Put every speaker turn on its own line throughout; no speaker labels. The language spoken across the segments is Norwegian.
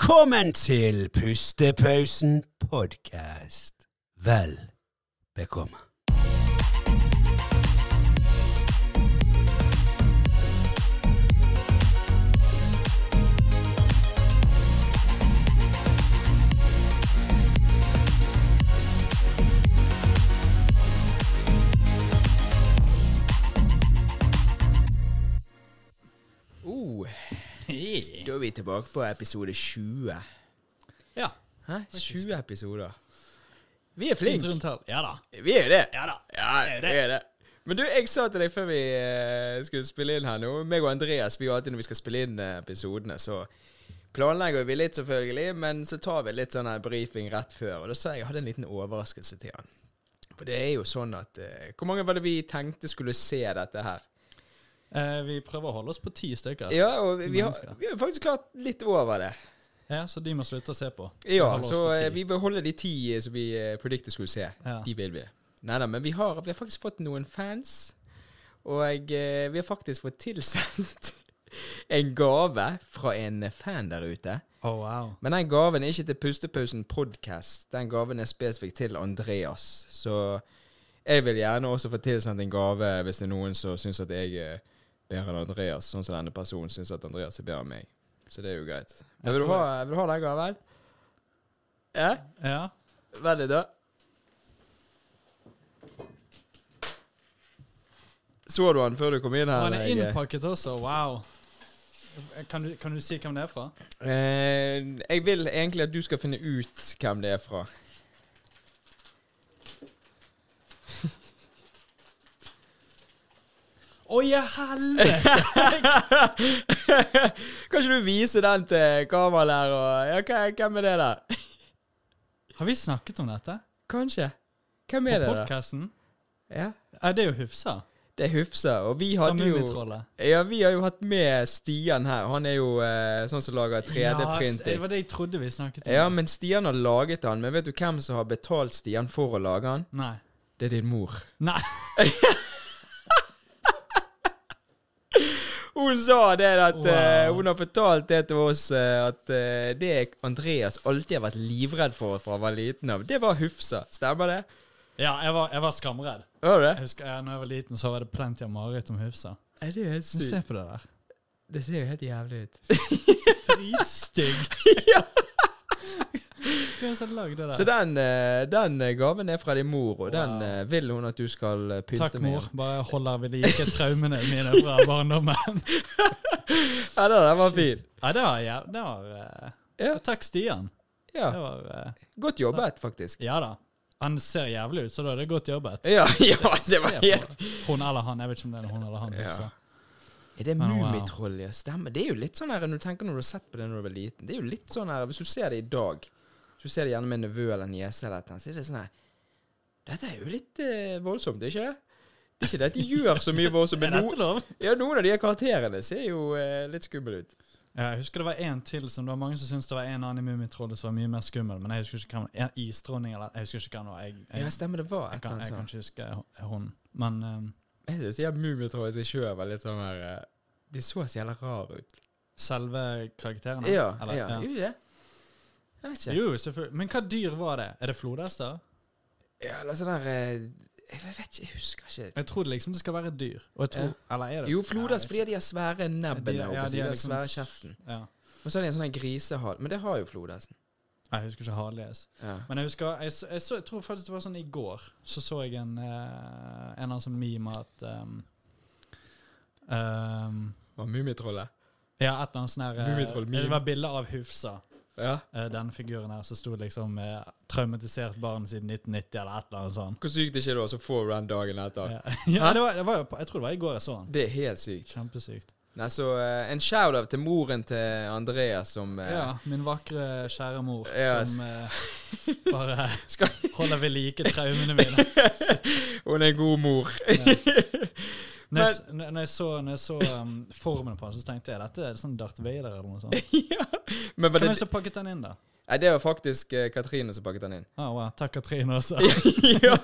Velkommen til Pustepausen podkast. Vel bekomme.
Oh, da er vi tilbake på episode 20.
Ja.
Hæ? 20 episoder. Vi er
Flink.
flinke.
Rundt her. Ja da.
Vi er jo det.
Ja da.
Ja, vi er det. Men du, jeg sa til deg før vi eh, skulle spille inn her nå meg og Andreas, vi jo alltid når vi skal spille inn eh, episodene, så planlegger vi litt, selvfølgelig, men så tar vi litt sånn her briefing rett før. Og da sa jeg jeg hadde en liten overraskelse til han. For det er jo sånn at eh, Hvor mange var det vi tenkte skulle se dette her?
Eh, vi prøver å holde oss på ti stykker.
Ja, og vi, vi,
Mennesker.
har, vi har faktisk klart litt over det.
Ja, så de må slutte å se på. Vi
Ja,
holder oss
så
på ti.
eh, vi beholder de ti eh, som vi eh, predicted skulle se.
Ja.
De vil vi. Nei da, men vi har, vi har faktisk fått noen fans. Og eh, vi har faktisk fått tilsendt en gave fra en fan der ute.
Å, Oh, wow.
Men den gaven er ikke til Pustepausen podcast. Den gaven er spesifikt til Andreas. Så jeg vil gjerne også få tilsendt en gave hvis det er noen som syns at jeg er bedre enn Andreas, sånn som denne personen syns at Andreas er bedre enn meg. Så det er jo greit.
Jeg
Vil du,
tror
ha, vil du ha den gaven? Ja?
Ja.
Veldig, da. Så du han før du kom inn
Og
her?
han er
Ege?
innpakket også. Wow. Kan du, kan du si hvem det er fra?
Eh, jeg vil egentlig at du skal finne ut hvem det er fra.
Å, i helvete!
Kan ikke du vise den til kameraet og ja, hva- Hvem er det der?
Har vi snakket om dette?
Kanskje. Hvem
På
er det der?
podkasten?
Ja,
Eh, det er jo Hufsa.
det er Hufsa. Og vi
Fra
hadde jo
Mummitrollet.
Ja, vi har jo hatt med Stian her. Han er jo eh, sånn som lager
det
3D-printing.
var det altså, jeg trodde vi snakket om.
Ja, men Stian har laget han. Men vet du hvem som har betalt Stian for å lage han?
Nei.
Det er din mor.
Nei.
Hun sa det at
Wow.
eh, Hun har fortalt det til oss eh, at eh, det Andreas alltid har vært livredd for fra han var liten av, det var Hufsa. Stemmer det?
Ja, jeg var, jeg var skamredd.
Hører du
Jeg
det?
husker, eh, når jeg var liten, så var det plenty av mareritt om Hufsa.
Er det er jo helt
Men se
sykt.
på det der.
Det ser jo helt jævlig ut.
Dritstygg. Hvem som hadde lagd det der?
Så den, eh, den eh, gaven er fra din mor, og den
Wow.
eh, vil hun at du skal eh, pynte
Takk,
med.
mor. Bare holder ved like traumene mine fra barndommen.
Ja, den der var fin.
Nei, det var, ja, det var eh,
Ja.
og Takk, Stian.
Ja.
Det var eh,
Godt jobbet, faktisk.
Ja da. Han ser jævlig ut, så da er det godt jobbet.
Ja, ja, det var
Se på
helt
Hun eller han. Jeg vet ikke om det er hun eller han.
Ja.
altså. også.
Er det
wow.
Mummitroll? Ja, stemmer. Det er jo litt sånn her Når du tenker når du har sett på det når du var liten Det er jo litt sånn her Hvis du ser det i dag Hvis du ser det gjerne med en nevø eller niese eller et eller annet, så er det sånn her Dette er jo litt eh, voldsomt, ikke? Det er ikke det at de gjør så mye voldsomt,
Er
men
dette
no,
lov?
ja, noen av de her karakterene ser jo eh, litt skumle ut.
Ja, jeg husker det var en til som det var mange som syntes det var en annen i Mummitrollet som var mye mer skummel, men jeg husker ikke hvem en Isdronning eller Jeg husker ikke hvem det var. Jeg, jeg,
Ja,
jeg,
stemmer, det var et
kan,
eller
jeg kan
annet sånt.
ikke huske h- hun. Men eh,
Jeg synes ja, Mummitroll i seg sjøl var litt sånn her eh, De så så jævla rare ut.
selve karakterene
Ja,
eller-
ja.
ja.
Gjorde de det? Jeg vet ikke.
Jo, selvfølgelig. Men hva dyr var det? Er det flodhester?
Ja, eller sånn der eh, Jeg vet ikke, jeg husker ikke.
Jeg tror det liksom det skal være dyr. Og jeg tror, Eller er det
Jo,
Nei, jeg
flodhest
vet
fordi de har svære
Ja, de-
nebbene
ja,
oppe, så
de
de
er
har
liksom-
svære kjeften.
ikke. ja.
Og så har de en sånn her grisehal, men det har jo altså. flodhesten.
Nei, Jeg husker ikke hardlighets.
Ja.
Men jeg husker jeg, så, jeg, så, jeg tror faktisk det var sånn i går, så så jeg en, eh, en eller annen sånn meme at ehm, ehm,
Og mummitrollet.
Ja, et eller annet sånn her eh,
Mummitroll-meme.
Det var bilde av Hufsa,
Ja.
eh, den figuren her, som sto liksom eh, 'traumatisert barn siden 1990', eller et eller annet sånt.
Hvor sykt er ikke det å så få den dagen etter?
Ja, ja det var, det var, jo på- jeg tror det var i går jeg så den.
Det er helt sykt.
Kjempesykt.
Nei, så eh, en shout-out til moren til Andreas som eh,
Ja, min vakre, kjære mor
Ja,
som eh, bare
Skal-
holder ved like traumene mine.
Hun er en god mor.
Når, jeg, s- når når jeg så, når jeg så um, formen på den, så tenkte jeg dette er sånn Darth Vader eller noe sånt.
Men var
Hvem er det
det,
som pakket den inn, da?
nei, det var faktisk eh, Katrine som pakket den inn.
Ah, wow. Takk, Katrine. også.
ja.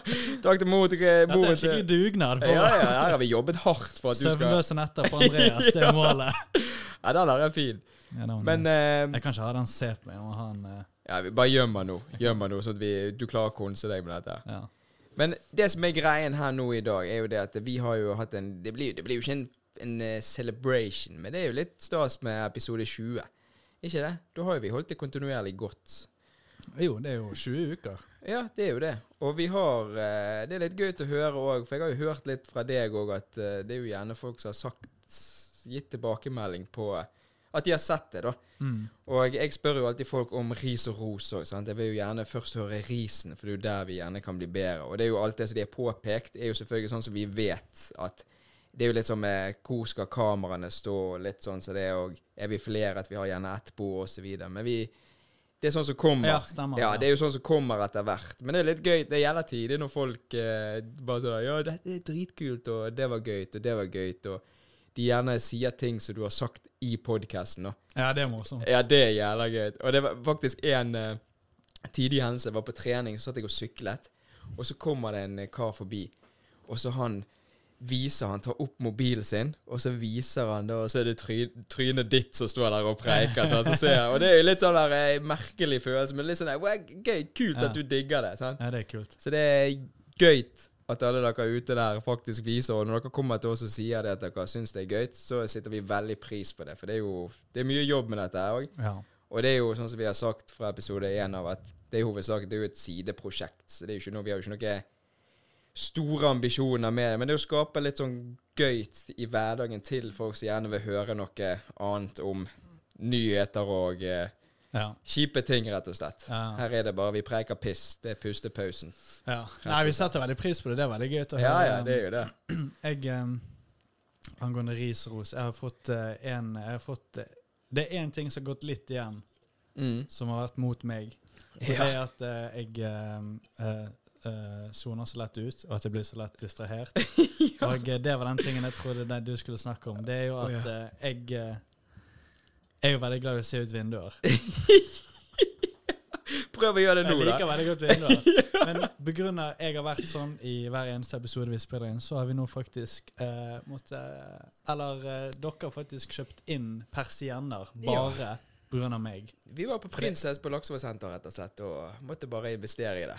Takk til mor til
Dette er
moren
en skikkelig
til
dugnad.
ja, ja,
for
her har vi jobbet hardt for at du skal
Søvnløse netter på Andreas, det er målet.
Ja, den der er fin.
Ja, det var
Men
nice.
eh,
Jeg kan ikke ha den sett meg. Jeg må ha en eh,
ja, vi bare gjør meg nå, gjør meg nå, sånn at vi, du klarer å konse deg med dette.
ja.
Men det som er greien her nå i dag, er jo det at vi har jo hatt en Det blir, det blir jo ikke en, en eh, celebration, men det er jo litt stas med episode 20. Ikke det? Da har jo vi holdt det kontinuerlig godt.
Jo, det er jo 20 uker.
Ja, det er jo det. Og vi har eh, Det er litt gøy til å høre òg, for jeg har jo hørt litt fra deg òg at eh, det er jo gjerne folk som har sagt Gitt tilbakemelding på at de har sett det, da.
Mm.
Og jeg spør jo alltid folk om ris og ros òg. Jeg vil jo gjerne først høre risen, for det er jo der vi gjerne kan bli bedre. Og det er jo alt det som de har påpekt, er jo selvfølgelig sånn som vi vet at det er jo litt sånn med hvor skal kameraene stå, og litt sånn som det, er, og er vi flere at vi har gjerne ett bord, og så videre. Men vi Det er sånn som kommer.
Ja, stemmer.
Ja, det er jo sånn som kommer etter hvert. Men det er litt gøy. Det gjelder tidlig når folk eh, bare sånn Ja, dette er dritkult, og det var gøy, og det var gøy, og de gjerne sier ting som du har sagt i podkasten.
ja, det er morsomt.
Ja, det er jævla gøy. Og det var faktisk en eh, tidig hendelse. Jeg var på trening, så satt jeg og syklet, og så kommer det en eh, kar forbi, og så han viser Han tar opp mobilen sin, og så viser han da, og så er det try, trynet ditt som står der og preiker. sånn, så ser jeg, Og det er jo litt sånn der eh, merkelig følelse, men litt sånn der, «Wow, gøy, kult
Ja.
at du digger det. sant?
Ja, det er kult.
Så det er gøy at alle dere ute der faktisk viser, og når dere kommer til oss og sier det at dere syns det er gøy, så setter vi veldig pris på det. For det er jo det er mye jobb med dette her òg.
Ja.
Og det er jo sånn som vi har sagt fra episode én av at det er i hovedsak det er jo et sideprosjekt. Så det er jo ikke noe, vi har jo ikke noe store ambisjoner med det. Men det er å skape litt sånn gøy i hverdagen til folk som gjerne vil høre noe annet om nyheter og eh,
ja.
kjipe ting, rett og slett.
Ja.
Her er det bare vi preiker piss. Det er pustepausen.
ja. Nei, vi setter veldig pris på det. Det er veldig gøy å høre. um,
Ja, ja, det er jo det.
Jeg em, Angående ris og ros, jeg har fått eh, en jeg har fått, eh, Det er én ting som har gått litt igjen,
Mm.
som har vært mot meg. Og Det er at eh, jeg em, eh, eh, soner så lett ut, og at jeg blir så lett distrahert. Og eh, det var den tingen jeg trodde det du skulle snakke om. Det er jo at eh, jeg eh, er jo veldig glad i å se ut vinduer.
Prøv å gjøre det
Jeg
nå, da.
liker veldig godt vinduer. Men begrunnet jeg har vært sånn i hver eneste episode vi spiller inn, så har vi nå faktisk eh, måtte, Eller eh, dere har faktisk kjøpt inn persienner bare pga. meg.
Vi var på Prinsess på Laksevågsenteret, rett og slett, og måtte bare investere i det.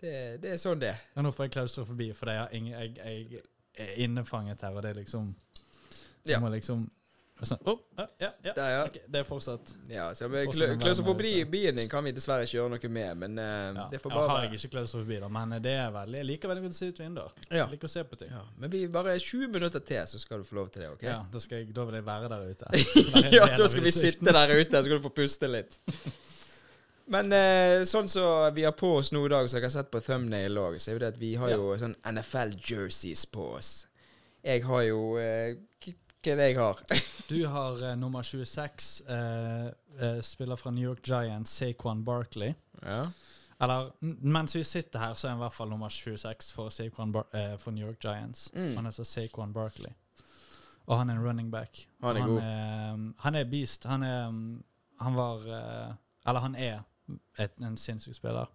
Det, det er sånn det er.
Og nå får jeg klaustrofobi, for jeg, har ingen, jeg, jeg er innefanget her, og det er liksom
Ja.
Jeg må liksom sånn, oh, ja, ja, ja.
Der, ja.
ok, det er fortsatt
Ja, så
Og så den varme
Klausofobi-bien din kan vi dessverre ikke gjøre noe med, men eh,
ja.
det får
Jeg
bare
har
være.
ikke klaustrofobi, da, men det er veldig Jeg liker veldig godt å se ut vinduer.
Ja.
Jeg liker å se på ting.
Ja, men vi bare 20 minutter til, så skal du få lov til det, OK?
Ja,
Ja,
da, skal jeg, da vil jeg være der ute.
da skal vi sitte der ute, så skal du få puste litt. Men eh, sånn som vi har på oss nå i dag, som dere har sett på thumbnail òg, så er jo det at vi har
Ja.
jo sånn NFL-jerseys på oss. Jeg har jo eh, k- Hva er det jeg har?
Du har eh, nummer 26, eh, eh, spiller fra New York Giants, Saquon Barkley.
Ja.
Eller m- mens vi sitter her, så er han i hvert fall nummer 26 for, Saquon Bar eh, for New York Giants.
Mm.
Han heter Saquon Barkley. Og han er en running back.
Han er god.
eh, han er beast. Han er mm, Han var eh, Eller han er et, en sinnssyk spiller.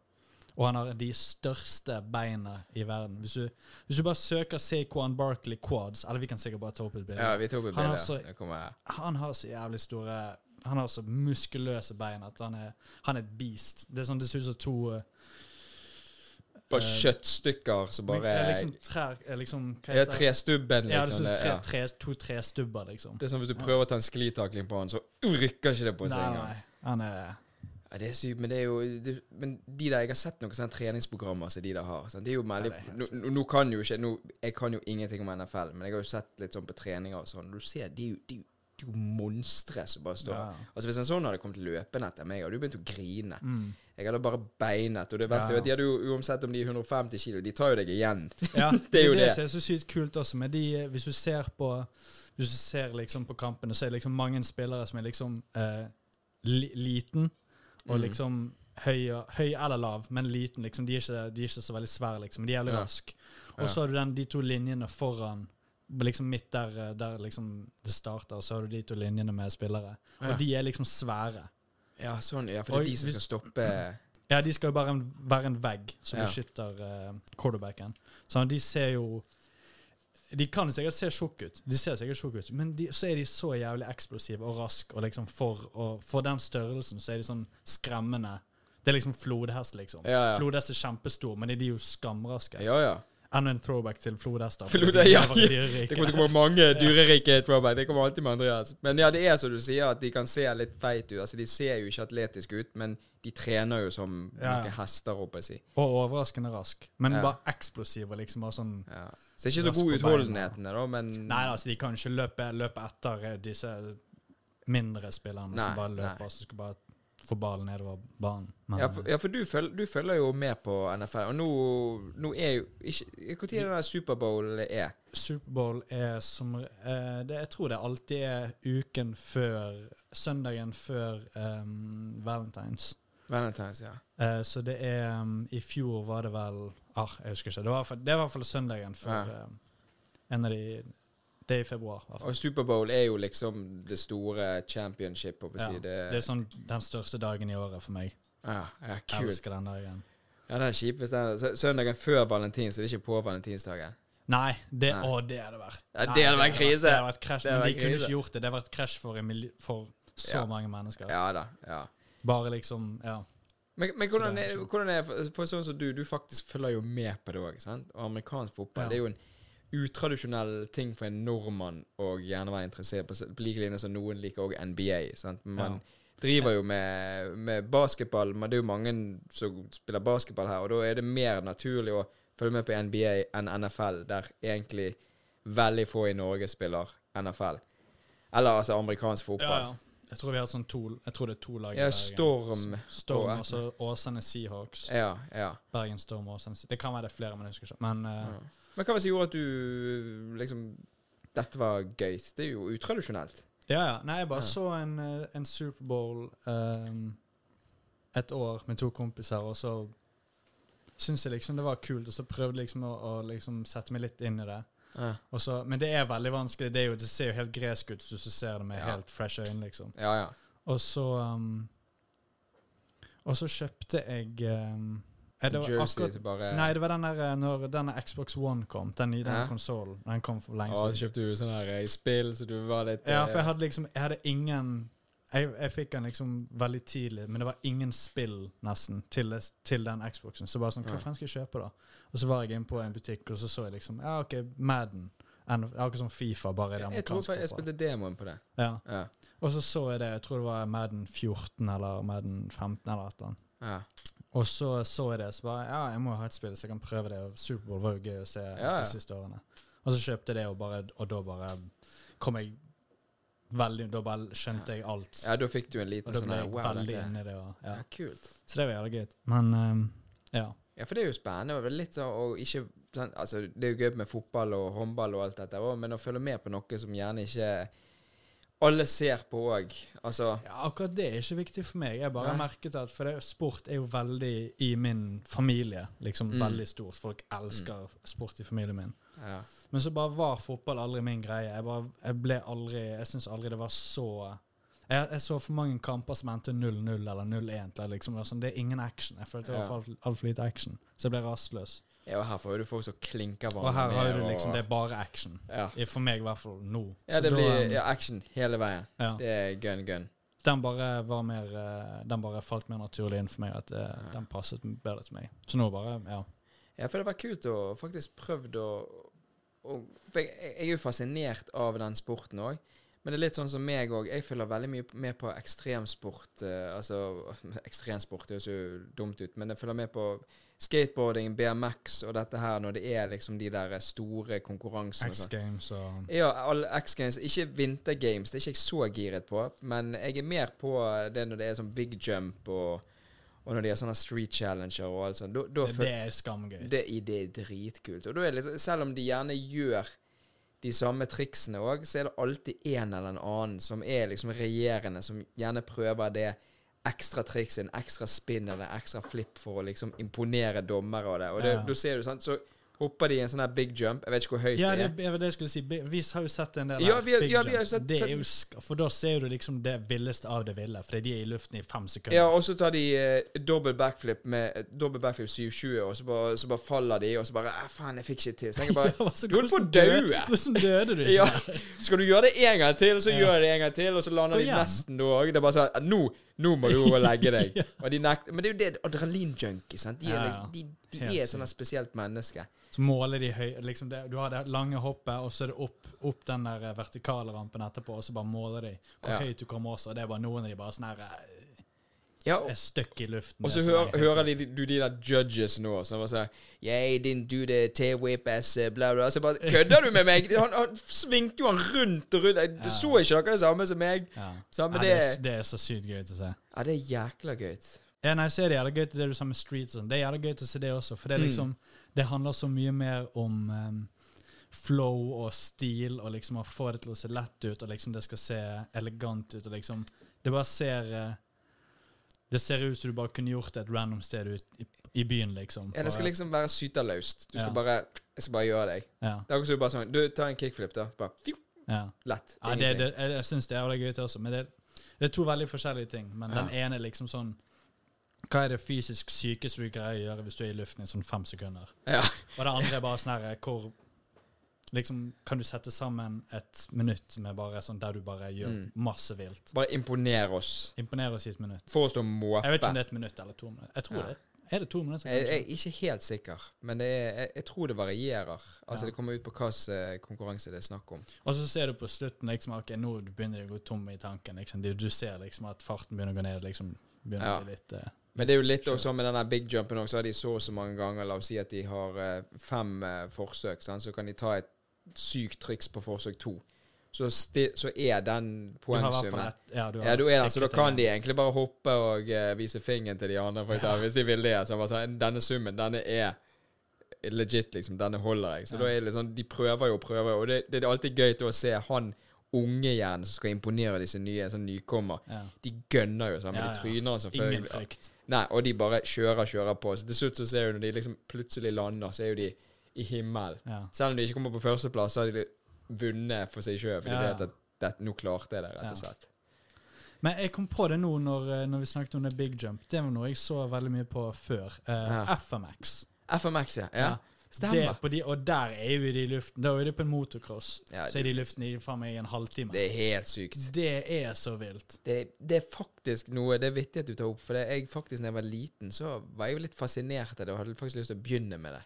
Og han har de største beina i verden. Hvis du, hvis du bare søker Saquon Barkley quads Eller vi kan sikkert bare ta opp et bilde.
ja, vi tok et
Han har
bilde.
så-
Det kommer her.
han har så jævlig store Han har så muskuløse bein at han er, han er et beast. Det er sånn det ser ut som to eh,
Bare
Eh,
kjøttstykker som bare
eh, liksom trær eh, liksom, hva
Ja,
heter det?
trestubben, liksom.
Ja, det ser ut som
det-
tre,
ja.
tre, to trestubber, liksom.
Det er sånn Hvis du prøver å ta en sklitakling på han, så rykker ikke det på seg
Nei,
engang.
nei. Han er
Ja, det er sykt, men det er jo det, Men de der jeg har sett noen sånne treningsprogrammer som de der har sant? Det er jo veldig
Ja, det er
nå, nå- nå kan jo ikke nå, Jeg kan jo ingenting om NFL, men jeg har jo sett litt sånn på treninger og sånn. Du ser, de er jo- de er jo- de er jo monstre som bare står
Ja.
Altså Hvis en sånn hadde kommet løpende etter meg, hadde du begynt å grine.
mm.
Jeg hadde bare beinet. Og det verste er
Ja.
at de hadde jo uansett om de er 150 kilo, de tar jo deg igjen.
Ja,
Det er jo det.
som er så sykt kult også, med de eh, Hvis du ser på Hvis du ser liksom på kampene, så er det liksom mange spillere som er liksom eh, li, liten, og
Mm.
liksom høy, og- høy eller lav, men liten, liksom. De er ikke, de er ikke så veldig svære, liksom. De er jævlig
Ja.
raske.
Ja.
Og så har du den, de to linjene foran Liksom midt der, eh, der liksom det starter, så har du de to linjene med spillere. Og
Ja.
de er liksom svære.
Ja, sånn. Ja, for det
Oi,
er de som
hvis-
skal stoppe
Ja, de skal jo bare en, være en vegg som
Ja.
beskytter eh, quarterbacken. Så de ser jo De kan sikkert se tjukke ut, De ser sikkert tjukke ut men de, så er de så jævlig eksplosive og raske. Og liksom for, og for den størrelsen så er de sånn skremmende. Det er liksom flodhest, liksom.
Ja, ja.
Flodhest er kjempestor, men de de er jo skamraske.
Ja, ja.
Enda en throwback til flodhester.
Flod-
fordi de
ja,
lever i dyreriket.
Det kommer til å komme mange dyrerike throwback. Det kommer alltid med Andreas. Men ja, det er som du sier, at de kan se litt feit ut. Altså, de ser jo ikke atletiske ut, men de trener jo som
Ja.
hvilke hester, håper jeg å si.
Og overraskende rask. Men
Ja.
bare eksplosiv og liksom bare sånn
Ja. Så det er ikke
Rask
så god
på beina.
utholdenheten, da, men
Nei, altså, de kan ikke løpe, løpe etter eh, disse mindre spillerne
Nei,
som bare
nei.
løper og skal bare få ballen nedover banen. Men, eh,
Ja, for, ja, for du, følger, du følger jo med på NFL, og nå, nå er jo ikke Når er det den der Superbowl er?
Superbowl er som eh, det, Jeg tror det alltid er uken før Søndagen før em, Valentines.
Valentine's, ja.
Eh, så det er em, I fjor var det vel ah, Jeg husker ikke. Det var, i hvert fall- det var i hvert fall søndagen før
Ja.
em, en av de Det er i februar. i hvert fall.
Og Superbowl er jo liksom det store championship, håper jeg å
Ja,
si. Det,
Det er sånn den største dagen i året for meg.
ja, ja,
Jeg
kult.
elsker den dagen.
Ja, den er kjipest. den. Sø- Søndagen før valentins, så det er ikke på valentinsdagen.
Nei, det,
Nei.
Å, det hadde vært
Ja, det
Nei,
hadde vært krise.
Det hadde vært krasj,
Det hadde
men
vært
de kunne
krise.
ikke gjort det. Det hadde vært krasj for, en milli- for så
Ja.
mange mennesker.
Ja da. ja.
Bare liksom Ja.
Men, men hvordan,
det er
er,
sånn.
hvordan er for- For sånn som du, du faktisk følger jo med på det òg, sant? Og amerikansk fotball
Ja.
det er jo en utradisjonell ting for en nordmann å gjerne være interessert på, så- på lik linje som noen liker òg NBA. sant? Men Man driver jo med, med basketball, men det er jo mange som spiller basketball her, og da er det mer naturlig å følge med på NBA enn NFL, der egentlig veldig få i Norge spiller NFL. Eller altså amerikansk
ja,
fotball.
ja. Jeg tror vi har sånn to Jeg tror det er to lag i
Ja,
Bergen.
Storm
Storm
og-
og så Åsane Seahawks.
Ja, ja.
Bergen Storm og Åsane Se- Det kan være det er flere, men jeg husker ikke. Men eh,
Ja. Men hva var det som gjorde at du liksom Dette var gøy. Det er jo utradisjonelt.
ja, ja. Nei, jeg bare
Ja.
så en, eh, en Superbowl ehm, et år med to kompiser, og så syntes jeg liksom det var kult, og så prøvde jeg liksom å, å liksom sette meg litt inn i det.
Ja,
Og så, men det er veldig vanskelig. Det, er jo, det ser jo helt gresk ut hvis du ser det med
Ja.
helt fresh øyne, liksom.
ja. ja.
Og så um, Og så kjøpte jeg um, eh, det var
Jersey
akkurat,
til bare
Nei, det var den der eh, når denne Xbox One kom. Den nye
Ja.
ja. konsollen. Den kom for lenge
Å, så
siden.
kjøpte du sånn her i spill, så du var litt
Ja,
eh,
for jeg hadde liksom Jeg hadde ingen jeg, jeg fikk den liksom veldig tidlig, men det var ingen spill nesten til, det- til den Xboxen. Så bare sånn, hva
Ja.
faen skal jeg kjøpe, da? Og så var jeg inne på en butikk, og så så jeg liksom Ja, OK, Madden. En- Akkurat som Fifa, bare i det
Jeg tror
amerikanske.
jeg, jeg
fotballen.
spilte demoen på det.
Ja.
Ja.
Og så så jeg det, jeg tror det var Madden 14 eller Madden 15 eller et eller annet.
Ja.
Og så så jeg det, så bare ja, jeg må jo ha et spill så jeg kan prøve det. Og Superbowl var jo gøy å se
Ja, ja.
de siste årene. Og så kjøpte jeg det, og, bare, og da bare kom jeg veldig Da bare skjønte jeg alt.
ja, da fikk du en
Og
liten
da
sånn
ble
her
jeg
wow,
veldig
dette.
inne i det. Og, ja.
Ja, kult.
Så det var jævlig gøy. Men ehm, ja.
Ja, for det er jo spennende. Og det er litt sånn, og ikke, sånn, altså, det er jo gøy med fotball og håndball og alt dette òg, men å følge med på noe som gjerne ikke alle ser på òg. Altså
ja. Akkurat det er ikke viktig for meg. Jeg bare
Nei.
merket at For det, sport er jo veldig i min familie. Liksom
Mm.
veldig stort. Folk elsker sport i familien min.
ja.
Men så bare var fotball aldri min greie. Jeg, bare, jeg ble aldri Jeg syns aldri det var så jeg, jeg så for mange kamper som endte 0-0 eller 0-1. til at Liksom. Det, var sånn, det er ingen action. Jeg følte det
Ja.
var altfor alt for lite action. Så jeg ble rastløs.
ja, og her får jo du folk som klinker
Og
hverandre
her har
med,
du liksom
og-
Det er bare action.
Ja.
I- For meg i hvert fall nå.
Ja,
Så
det
da,
blir
um,
ja, action hele veien.
ja.
Det er gun, gun.
Den bare var mer eh, Den bare falt mer naturlig inn for meg. At eh,
Ja.
den passet bedre til meg. Så nå bare Ja.
Ja, for det var kult å faktisk prøvd å å- for jeg, jeg er jo fascinert av den sporten òg. Men det er litt sånn som meg òg. Jeg følger veldig mye med på ekstremsport. eh, altså Ekstremsport høres jo dumt ut, men jeg følger med på skateboarding, BMX og dette her når det er liksom de der store konkurransene. og
X
sånn.
Games og
Ja, alle X Games. Ikke Winter Games, det er ikke jeg så giret på. Men jeg er mer på det når det er sånn big jump og, og når de er sånne street challenger og alt sånt. Da, da
Det
føler
er skamgøy.
det, i- det er dritkult. Og da er det liksom, selv om de gjerne gjør de samme triksene òg, så er det alltid en eller en annen som er liksom regjerende, som gjerne prøver det ekstra trikset, en ekstra spinn eller en ekstra flip for å liksom imponere dommere og det. Og det,
Ja.
da ser du sant, så Hopper de i en sånn her big jump. Jeg vet ikke hvor høyt
Ja,
det
det,
er.
det var det jeg skulle si. Bi- Vi har jo sett en del
Ja,
her,
vi har-
Big
ja, vi har
Jump.
sett-
det er
sett-
jo sk For da ser du liksom det villeste av det ville, fordi de er i luften i fem sekunder.
Ja, og så tar de eh, dobbel backflip med eh, dobbel backflip 720, og så bare, så bare faller de, og så bare «Ah, Faen, jeg fikk ikke til. Så tenker jeg bare
Ja, altså,
Du holdt på å
hvordan dø-
daue.
Hvordan døde du? ikke?
Ja. Skal du gjøre det en gang til, så
Ja.
gjør jeg det en gang til, og så lander
Gå
de
hjem.
nesten da òg. Det er bare sånn «Ah, Nå, nå må du over og legge deg. og de nekter. Men det er jo det adrenalinjunkie, sant. De er,
Ja, ja.
liksom- de, de
Helt
er et sånt spesielt menneske.
Så måler de høy liksom det, Du har det lange hoppet, og så er det opp, opp den der eh, vertikale rampen etterpå, og så bare måler de hvor
Ja.
høyt du kommer også. Og det er bare noen av de bare sånn her eh,
Ja,
er støkk i luften.
Og så hører, hører de, du de der judges nå som bare sier Yeah, I didn't do the tail whip as eh, bla, bla. Så jeg bare Kødder du med meg?! Han, han svingte jo han rundt og rundt. Jeg, Du
Ja.
så ikke dere det samme som meg?
ja.
Så, men
ja, det, er,
det-
det er så sykt gøy til å se.
Ja, det er jækla gøy.
Ja, nei, så er det jævla gøy til det du sa med street og sånn. Det er jævla gøy til å se det også, for det,
Mm.
er liksom, det handler så mye mer om em, flow og stil, og liksom å få det til å se lett ut, og liksom det skal se elegant ut, og liksom Det bare ser eh, Det ser ut som du bare kunne gjort det et random sted ut i, i byen, liksom.
Ja, det skal
Bare-
liksom være syterløst. Du skal
Ja.
bare Jeg skal bare gjøre deg.
ja,
Det er akkurat som du bare sånn Du, ta en kickflip, da. Bare fju,
ja.
lett.
ja, det, det, jeg, jeg syns det er jævla gøy til også, men det, det er to veldig forskjellige ting. Men den
Ja.
ene er liksom sånn Hva er det fysisk sykeste du greier å gjøre hvis du er i luften i sånn fem sekunder?
Ja.
Og det andre er bare sånn her hvor Liksom, kan du sette sammen et minutt med bare sånn der du bare gjør
Mm.
masse vilt?
Bare imponer oss.
Imponer oss i et minutt.
Få oss til å måpe.
Jeg vet ikke om det er et minutt eller to minutter. Jeg tror
Ja.
det. Er det to minutter?
Jeg, jeg
kanskje?
er ikke helt sikker, men det er, jeg, jeg tror det varierer. Altså
Ja.
Det kommer ut på hvilken eh, konkurranse det er snakk om.
Og så ser du på slutten liksom, ok, nå begynner det å gå tom i tanken. Liksom. Du, du ser liksom at farten begynner å gå ned. Liksom, begynner
Ja.
å bli litt... eh,
Men det er jo litt også med den der big jumpen også, så har de så og så mange ganger, la oss si at de har eh, fem eh, forsøk, sant? så kan de ta et sykt triks på forsøk to. Så, sti, så er den
du har i hvert fall
poengsummen.
et- ja, du har
Ja, du er den, så da
sikkert
kan
en-
de egentlig bare hoppe og eh, vise fingeren til de andre, for eksempel, hvis de vil det. Så bare sånn, denne summen, denne er legit, liksom. Denne holder jeg. Så
Ja.
da er det liksom, de prøver jo og prøver, og det, det er alltid gøy til å se han unge igjen, som skal imponere disse nye, sånn nykommer.
ja.
De gønner jo, sånn, men
Ja,
de
ja.
tryner selvfølgelig.
Ingen frykt.
Nei, og de bare kjører, kjører på. Så til slutt så ser du når de liksom plutselig lander, så er jo de i himmelen.
Ja.
Selv om de ikke kommer på førsteplass, så har de vunnet for seg sjøl, for de
Ja, ja.
vet at det, nå klarte jeg det, rett og
Ja.
slett.
Men jeg kom på det nå når, eh, når vi snakket om det big jump. Det var noe jeg så veldig mye på før. Eh,
Ja.
FMX.
FMX, ja. ja.
Ja. Det
Stemmer.
på de, og der er jo de i luften. Da er de på en motocross.
Ja,
så er de i luften i faen meg en halvtime. Det,
Det er helt sykt.
er så vilt.
Det, det er faktisk noe Det er vittig at du tar opp, for det, jeg faktisk da jeg var liten, så var jeg jo litt fascinert av det og hadde faktisk lyst til å begynne med det.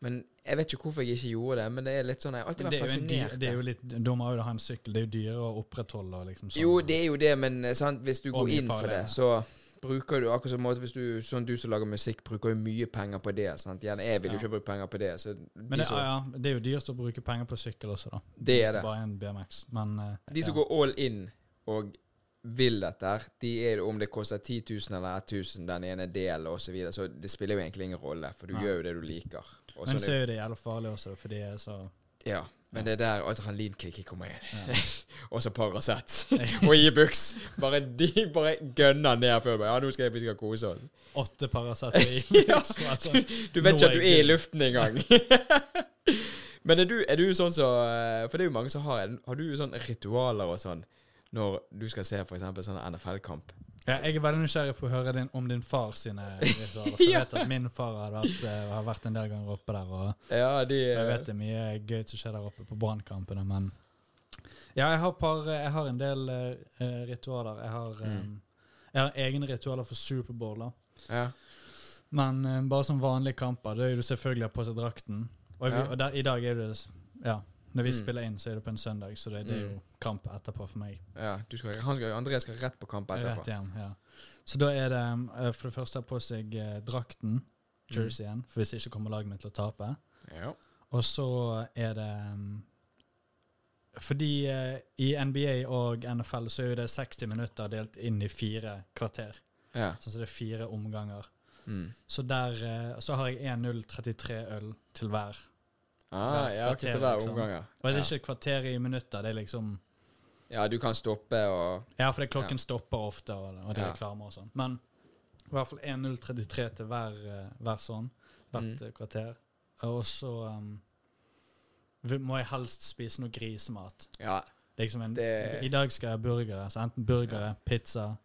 Men jeg vet ikke hvorfor jeg ikke gjorde det, men det er litt sånn Jeg har alltid
Det
vært
er, jo en dyr,
fascinert.
det er jo litt Da må jo ha en sykkel. Det er jo dyrere å opprettholde. og Liksom, sånn.
Jo, det er jo det, men eh, sant, hvis du
Og
går
mye
inn for det,
farligere.
så bruker du akkurat som måte hvis du, sånn du som lager musikk, bruker jo mye penger på det. Sant? Gjerne jeg vil jo
Ja.
ikke bruke penger på det. Så
Men
de
det,
som,
ja, ja, det er jo dyrt å bruke penger på sykkel også, da.
Det er
Hvis
det.
Bare er en BMX. Men eh,
de som
ja.
går all in og vil dette, her, de er det om det koster 10 000 eller 1000 den ene delen osv., så, videre, så det spiller jo egentlig ingen rolle, for du
Nei.
gjør jo det du liker. Og
Men
sånn
så er jo det jævla farlig også, for de er så
Ja, men det er der adrenalinkicket kommer inn.
Ja.
og så Paracet. og Ibux. Bare de bare gønner ned før. bare, Ja, nå skal jeg, vi skal kose oss.
Åtte Paracet i
Ja,
så er det sånn.
Du vet
Nå
ikke at du
er
er i
jeg-
luften engang. Men er du, er du sånn som eh, For det er jo mange som har en- Har du sånn ritualer og sånn når du skal se f.eks. sånn NFL-kamp?
Ja, jeg er veldig nysgjerrig på å høre din, om din far sine ritualer. For jeg vet at min far har vært, eh, har vært en del ganger oppe der, og
Ja, de
jeg vet det er mye gøy som skjer der oppe på brannkampene, men Ja, jeg har, par, jeg har en del eh, ritualer. Jeg har, eh,
Mm.
jeg har egne ritualer for Superbowl, da.
ja.
Men eh, bare som vanlige kamper, da er jo du selvfølgelig har på seg drakten. Og, jeg,
Ja.
og der, i dag er det Ja, når vi
Mm.
spiller inn, så er det på en søndag, så det, det er
Mm.
jo kamp etterpå for meg.
ja du skal, han skal, André skal rett på kamp etterpå.
Rett hjem, ja. Så da er det eh, for det første ha på seg eh,
Mm.
drakten, jerseyen, for hvis ikke kommer laget mitt til å tape.
Ja.
Og så er det mm, Fordi eh, i NBA og NFL så er jo det 60 minutter delt inn i fire kvarter.
ja.
Sånn så det er fire omganger.
Mm.
Så der eh, Så har jeg 1-0-33 øl til hver.
Ah,
Hvert
ja, ok,
kvarter,
til hver
liksom.
omgang, ja.
Og det
ja.
er ikke kvarter i minutter, det er liksom
Ja, du kan stoppe og
Ja, fordi klokken stopper ofte, og, og det er
Ja.
reklamer og sånn. Men i hvert fall 1.033 til hver, eh, hver sånn. Hvert
Mm.
eh, kvarter. Og så um, vi- må jeg helst spise noe grisemat.
Ja.
Det er liksom en,
Det-
I dag skal jeg ha burgere. Så enten burgere, pizza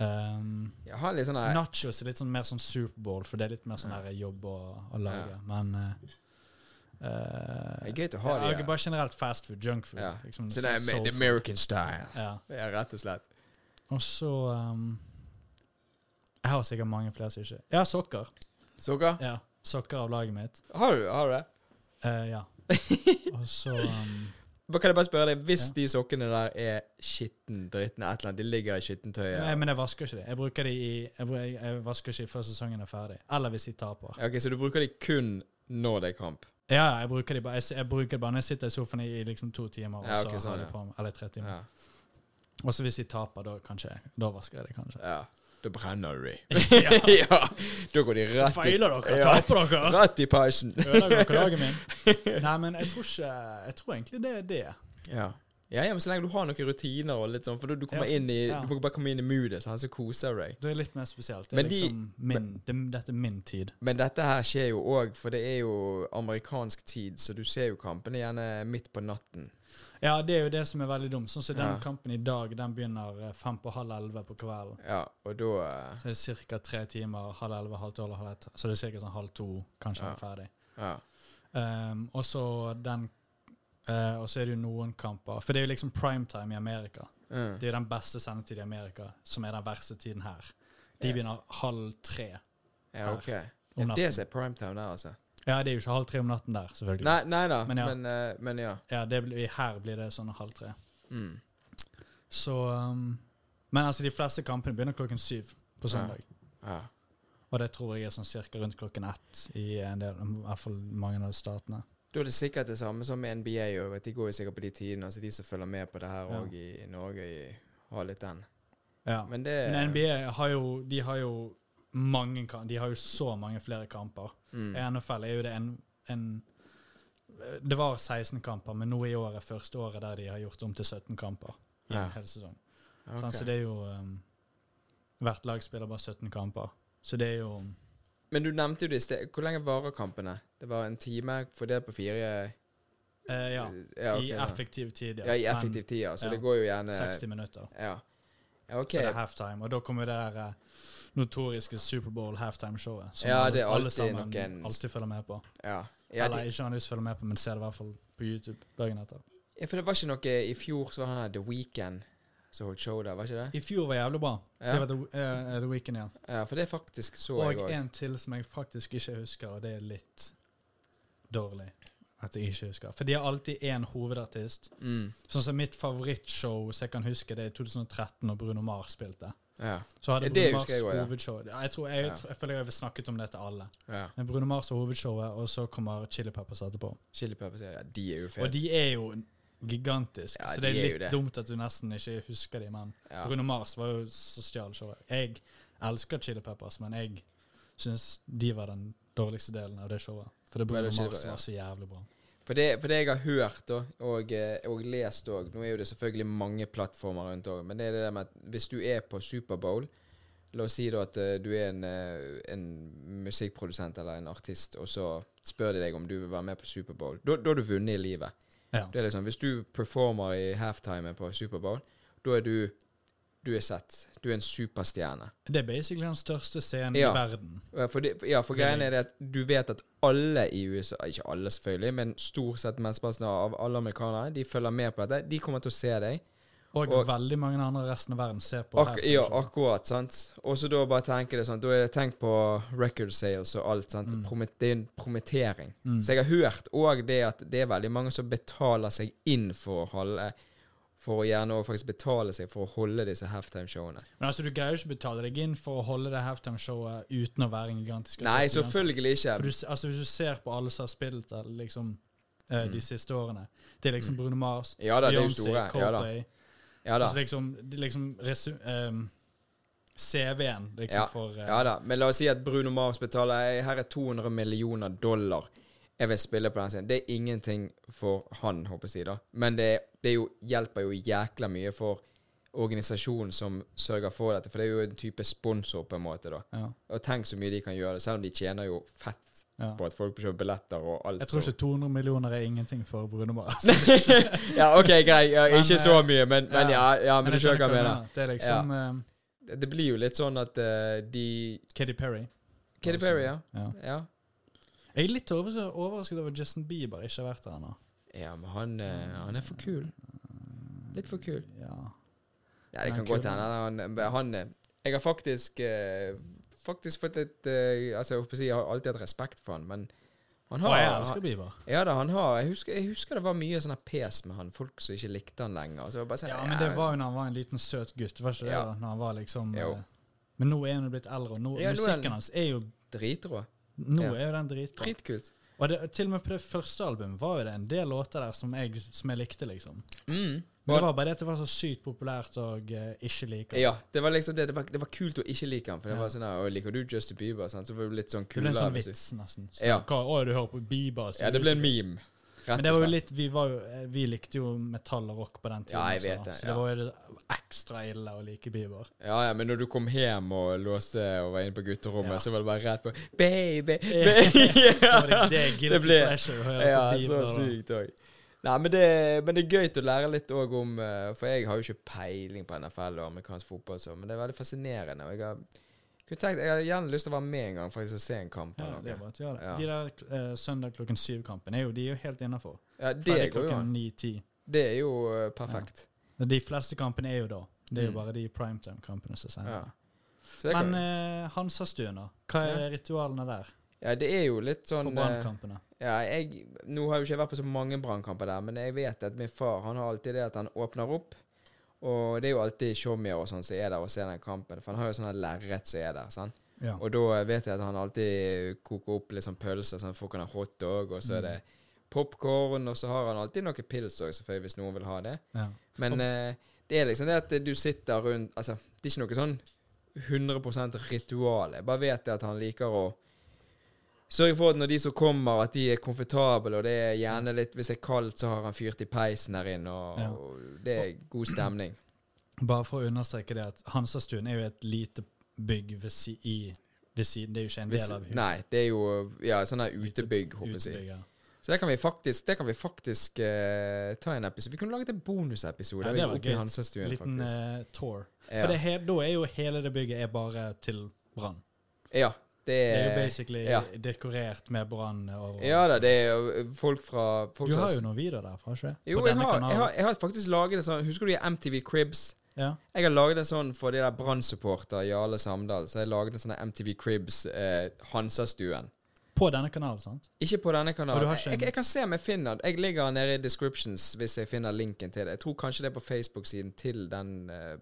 um,
Jeg har litt sånn der
Nachos er litt sånn mer sånn Superbowl, for det er litt mer sånn der jobb å, å lage. Men eh, eh,
Det er gøy til å ha
ja,
de her.
Bare generelt fast food, junk food.
Ja.
Liksom,
Så det er
soul
the
food.
American style.
ja.
Ja, rett og slett.
Og så um, Jeg har sikkert mange flere som ikke Ja, sokker.
Sukker?
Ja, Sokker av laget mitt.
Har du, har du det?
Eh, ja. Og så um,
Bare kan jeg bare spørre deg, Hvis
Ja.
de sokkene der er skitten, dritten, et eller annet, de ligger i skittentøyet
Nei, men jeg vasker ikke de. Jeg bruker de i jeg, bru- jeg, jeg vasker ikke de før sesongen er ferdig. Eller hvis de taper.
Ja, Ok, Så du bruker de kun når det er kamp?
Ja, ja, jeg bruker de bare jeg, s- jeg bruker det bare når jeg sitter i sofaen i, i liksom to timer, og
Ja, ok,
så
sånn,
har de
ja.
på meg Eller tre timer.
Ja.
Og så hvis de taper, da kanskje jeg- Da vasker jeg det kanskje.
ja. Da brenner du de.
Ja.
ja. Da går de rett i, Ja.
dere!
rett i peisen.
Ødelegger dere dagen min? Nei, men jeg tror ikke Jeg tror egentlig det er det.
Ja. Ja, ja, men så lenge du har noen rutiner, og litt sånn, for du, du kommer
Ja,
inn i
ja.
Du må bare komme inn i moodet, sånn, så koser du deg.
Det er litt mer spesielt. Det er
Men de-
liksom min, det, dette er min tid.
Men dette her skjer jo òg, for det er jo amerikansk tid, så du ser jo kampene gjerne midt på natten.
Ja, det er jo det som er veldig dumt. Sånn som den
Ja.
kampen i dag, den begynner eh, fem på halv elleve på kvelden.
Ja, og da eh,
Så det er ca. tre timer, halv elleve, halv tolv, halv ett. Så det er ca. Sånn halv to, kanskje
Ja.
er ferdig.
Ja.
Um, og så den eh, Og så er det jo noen kamper. For det er jo liksom primetime i Amerika.
Mm.
Det er jo den beste sendetiden i Amerika, som er den verste tiden her. De begynner halv tre.
Ja, ok.
om
Ja, det
natten.
som er primetime der, altså.
Ja, det er jo ikke halv tre om natten der, selvfølgelig.
Nei, nei da, men
Men ja.
ja. Men, eh, men ja.
Ja, det blir, her blir det sånn halv tre.
Mm.
Så um, Men altså, de fleste kampene begynner klokken syv på søndag.
ja.
Og det tror jeg er sånn cirka rundt klokken ett i en del, i hvert fall mange av statene.
Da er det sikkert det samme som med NBA. Og vet, de går jo sikkert på de tidene. Altså de som følger med på det her
Ja.
òg i Norge, i, har litt den.
Ja.
Men det
Men eh, NBA har jo De har jo mange kam- De har jo så mange flere kamper.
Mm.
I NFL er jo det en, en Det var 16 kamper, men nå i år er første året der de har gjort om til 17 kamper. I
Ja.
en hel sesong.
ok.
Sånn, så det er jo um, Hvert lag spiller bare 17 kamper. Så det er jo um,
Men du nevnte jo det i sted. Hvor lenge varer kampene? Det var en time fordelt på fire
eh, ja,
ok,
I effektiv tid,
Ja, i
Men
effektiv tid, ja. Så
ja.
det går jo gjerne
60 minutter.
Ja. ja OK.
Så det er halftime. Og da kommer jo det der eh, notoriske Superbowl halftime-showet. Som
Ja,
alle-
det er
alle
alltid
sammen
noen-
alltid følger med på.
Ja. Ja,
Eller
de,
ikke nødvendigvis følger med på, men ser det i hvert fall på YouTube dagen etter.
ja, for det var ikke noe I fjor så var han her The Weekend som holdt show der, var ikke det?
I fjor var jævlig bra.
Ja.
Det var The, eh, The Weeknd, ja.
Ja, for det faktisk så jeg
Og
òg.
en til som jeg faktisk ikke husker, og det er litt dårlig at jeg ikke husker. For de har alltid én hovedartist.
Mm.
Sånn som mitt favorittshow, så jeg kan huske det, i 2013, når Bruno Mars spilte.
Ja.
Så hadde
Ja, det
Bruno Mars
husker jeg også, ja.
hovedshow. Ja, Jeg, tror, jeg,
Ja.
tror- jeg føler jeg har snakket om det til alle.
ja.
Men Bruno Mars og hovedshowet, og så kommer Chili Peppers etterpå.
Chili Peppers, ja. De er jo
Og
fete.
de er jo gigantiske,
Ja, de
så det
er
er
jo
litt
det.
dumt at du nesten ikke husker dem, men
Ja.
Bruno Mars var jo så stjal showet. Jeg elsker Chili Peppers, men jeg syns de var den dårligste delen av det showet. For det Bruno
Var det Chili
Mars
Pepper, ja.
var så jævlig bra.
For det, for det jeg har hørt da, og, eh, og lest òg Nå er jo det selvfølgelig mange plattformer rundt òg, men det er det der med at hvis du er på Superbowl La oss si da at eh, du er en, eh, en musikkprodusent eller en artist, og så spør de deg om du vil være med på Superbowl. Da da har du vunnet i livet.
Ja.
Det er liksom, Hvis du performer i halftime på Superbowl, da er du Du er sett. Du er en superstjerne.
Det er basically den største scenen
Ja.
i verden.
Ja, For det, ja, for greien er det at du vet at alle i USA Ikke alle, selvfølgelig, men stort sett mesteparten av alle amerikanere De følger med på dette. De kommer til å se deg.
Og,
Og-
veldig mange andre i resten av verden ser på.
Ak
halftime
ja,
show.
akkurat. sant? Og så da bare tenker det sånn Da er det tenkt på record sales og alt. sant?
Mm.
Promet- det er en promettering. Så jeg har hørt òg det at det er veldig mange som betaler seg inn for å holde For å gjerne også faktisk betale seg for å holde disse halftimeshowene.
Men altså, du greier jo ikke å betale deg inn for å holde det halftime-showet uten å være en gigantisk
Nei,
artist uansett.
selvfølgelig ikke.
For du, s- altså, hvis du ser på alle som har spilt der liksom, eh, de siste årene Det er liksom Bruno Mars,
Mm. Ja da, det er jo store.
Beyoncé,
Ja da.
Coldplay
Ja, da.
altså, liksom, det er liksom resu, ehm, CV-en liksom,
Ja,
for eh,
Ja da, men la oss si at Bruno Mars betaler «Ei, Her er 200 millioner dollar. Jeg vil spille på den scenen. Det er ingenting for han, håper jeg å si da. Men det, det er jo, hjelper jo jækla mye for organisasjonen som sørger for dette. For det er jo en type sponsor, på en måte, da.
ja.
Og tenk så mye de kan gjøre, selv om de tjener jo fett
Ja.
på at folk kjøper billetter og alt.
Jeg tror
så-
ikke 200 millioner er ingenting for Bruno Mars.
ja, OK, greit. Ja,
Men,
ikke
eh,
så mye, men, men ja,
ja.
ja, men du
jeg
skjønner hva jeg mener.
mener. Det er liksom eh,
Det blir jo litt sånn at eh, de
Katy Perry.
Katy Perry, ja.
Ja.
ja.
Jeg er litt overrasket, overrasket over at Justin Bieber ikke har vært der ennå.
Ja, men han, eh, han er for kul. Litt for kul.
Ja.
Ja, det
Han er
kan
kul,
godt hende. Han, han eh, Jeg har faktisk eh, Faktisk fått litt eh, Altså, jeg holdt på å si, jeg har alltid hatt respekt for han, men han
Og
har
jeg
han-
elsker Bieber.
Ja da, han har jeg husker, jeg husker det var mye sånn her pes med han. Folk som ikke likte han lenger. Så jeg bare sånn,
Ja, men det var jo når han var en liten søt gutt. Var ikke det
Ja.
da? Når han var liksom
Jo.
eh, Men nå er han jo blitt eldre, og nå,
Ja, nå er
musikken
han-
hans er jo
Dritrå.
Nå
Ja.
er jo den dritbra.
Dritkult.
Og det, til og med på det første albumet var jo det en del låter der som jeg, som jeg likte, liksom.
Mm.
Men det
Og,
var bare det at det var så sykt populært og eh, ikke like.
ja, det var liksom det. Det var, det var kult å ikke like han. For det
Ja.
var sånn her, «Å, Liker du Justin Bieber? Sånn, så var det litt sånn
Det ble en
kulere.
sånn
hvis du-
vits, nesten. Så,
Ja.
hva, å, du hører på Bieber. så
Ja, det
du-
ble en meme. Rett
Men det var
og
jo
slett.
litt, vi, var jo, eh, vi likte jo metall og rock på den tiden.
Ja, jeg
også,
vet
da.
det, ja.
Så det var jo ekstra ille å like Bieber.
Ja, ja, men når du kom hjem og låste og var inne på gutterommet,
Ja.
så var det bare rett på Baby!
Det var det, det er guilty
Det ble-
pleasure å høre
ja,
på
så
Bieber. da.
sykt òg. Nei, men det, men det er gøy å lære litt òg om eh, For jeg har jo ikke peiling på NFL og amerikansk fotball, og sånn, men det er veldig fascinerende. Og jeg har, kunne tenkt, jeg har gjerne lyst til å være med en gang faktisk og se en kamp.
Ja,
eller
det er
noe.
bare at gjør det.
Ja.
De der eh, søndag klokken syv-kampen er jo de er jo helt innafor.
Ja, det
Ferdig
går jo
klokken
an.
ni-ti.
Det er jo eh, perfekt.
De fleste kampene er jo da. Det er jo
Mm.
bare de primetime-kampene som
Ja.
er senere.
Så det,
Men
kan,
eh, Hansastuen, da? Hva er
Ja.
ritualene der
ja, det er jo litt sånn
eh, for
eh,
Brann-kampene?
Ja, jeg, nå har jo ikke jeg vært på så mange brannkamper der, men jeg vet at min far han har alltid det at han åpner opp. Og det er jo alltid showmier og sånn som er der og ser den kampen. For han har jo sånne lerret som er der. sant?
Ja.
Og da vet jeg at han alltid koker opp litt sånn pølser, sånn at folk kan ha hotdog, og så er det popkorn, og så har han alltid noe pils òg, selvfølgelig, hvis noen vil ha det.
Ja.
Men eh, det er liksom det at du sitter rundt Altså, det er ikke noe sånn 100 ritual. Jeg bare vet det at han liker å sørge for at når de som kommer, at de er komfortable, og det er gjerne litt Hvis det er kaldt, så har han fyrt i peisen her inne, og,
Ja.
og det er god stemning.
Bare for å understreke det at Hansastuen er jo et lite bygg ved, si, i, ved siden. Det er jo ikke en
Hvis,
del av huset.
nei, det er jo ja, sånn der utebygg, håper jeg å si.
Utebygg, ja.
Så det kan vi faktisk, det kan vi faktisk eh, ta en episode Vi kunne laget en bonusepisode.
Ja, det var
oppe i
gøy.
Hansastuen,
Liten
faktisk.
eh, tour.
Ja.
For det, er he- da er jo hele det bygget er bare til Brann.
ja, det
eh, Det er jo
er
basically
Eh, ja.
dekorert med Brann og
Ja da, det er jo eh, folk fra folk
Du
som-
har jo noen videoer derfra, ikke sant?
Jo,
På
jeg
denne
har, jeg,
kanalen.
har, jeg har faktisk laget en sånn Husker du de MTV Cribs?
Ja.
Jeg har laget en sånn for de der Brann-supporter Jarle Samdal. Så jeg laget en sånn der MTV Cribs eh, Hansastuen.
På denne kanalen, sant?
Ikke på denne
Og du
kanalen.
har ikke en-
Jeg, jeg kan se om jeg finner den. Jeg ligger nede i descriptions hvis jeg finner linken til det. Jeg tror kanskje det er på Facebook-siden til den eh,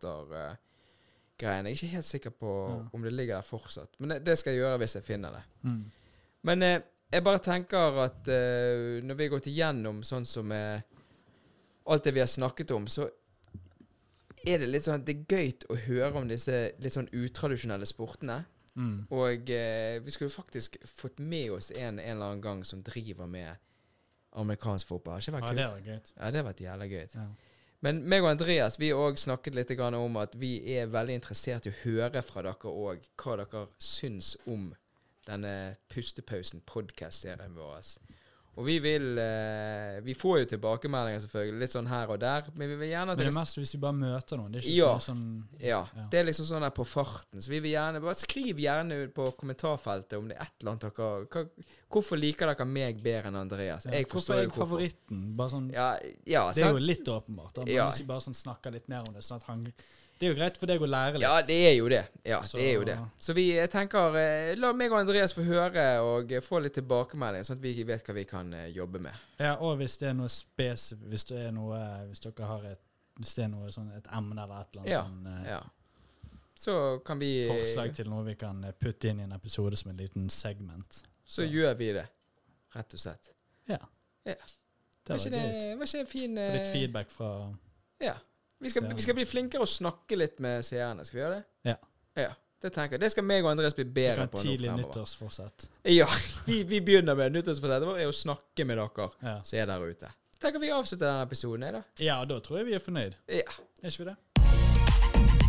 Brann-supporter-greien. Jeg er ikke helt sikker på
Ja.
om det ligger der fortsatt. Men det, det skal jeg gjøre hvis jeg finner det.
Mm.
Men eh, jeg bare tenker at eh, når vi har gått igjennom sånn som eh, alt det vi har snakket om, så er det litt sånn at det er gøy å høre om disse litt sånn utradisjonelle sportene.
Mm.
Og eh, vi skulle faktisk fått med oss en en eller annen gang som driver med amerikansk fotball. Har ikke vært
Ja, det
Ah, kult?
var gøy.
Ja, det hadde vært jævla gøy.
Ja.
Men meg og Andreas vi har også snakket litt grann om at vi er veldig interessert i å høre fra dere òg hva dere syns om denne Pustepausen podcast-serien vår. Og vi vil eh, Vi får jo tilbakemeldinger, selvfølgelig, litt sånn her og der, men vi vil gjerne at
Men det
dere
er mest hvis vi bare møter noen. Det er ikke
Ja.
sånn, sånn
ja,
Ja.
Det er liksom sånn her på farten. Så vi vil gjerne Bare skriv gjerne på kommentarfeltet om det er et eller annet dere hva, Hvorfor liker dere meg bedre enn Andreas?
ja,
Jeg
Hvorfor
forstår
er
jo
jeg
hvorfor.
favoritten? Bare sånn,
Ja, ja,
det er
sant?
jo litt åpenbart. Da. Men
Ja.
Hvis vi bare sånn snakker litt mer om det, sånn at han Det er jo greit for deg å lære litt.
Ja, det er jo det. Ja,
Så-
det er jo det. Så vi eh, tenker eh, La meg og Andreas få høre og eh, få litt tilbakemelding, sånn at vi vet hva vi kan eh, jobbe med.
Ja, og hvis det er noe spesif... Hvis det er noe eh, Hvis dere har et Hvis det er noe sånn et emne eller et eller annet
Ja.
sånn eh,
Ja. Så kan vi
forslag til noe vi kan eh, putte inn i en episode som en liten segment.
Så gjør vi det, rett og slett.
Ja.
Ja.
Det
Var
var
ikke det,
greit.
var ikke det fin
Få litt
eh,
feedback fra
Ja. Vi skal,
Seerne.
vi skal bli flinkere å snakke litt med seerne. Skal vi gjøre det?
Ja.
ja. Det tenker jeg. Det skal meg og Andreas bli
dere
bedre
har
på nå
tidlig
fremover.
nyttårsforsett.
Ja, vi, vi begynner med nyttårsforsettet vårt er å snakke med dere
Ja.
som er der ute. Tenker vi avslutter denne episoden, jeg, da.
ja, da tror jeg vi er fornøyd.
Ja.
Er ikke vi det?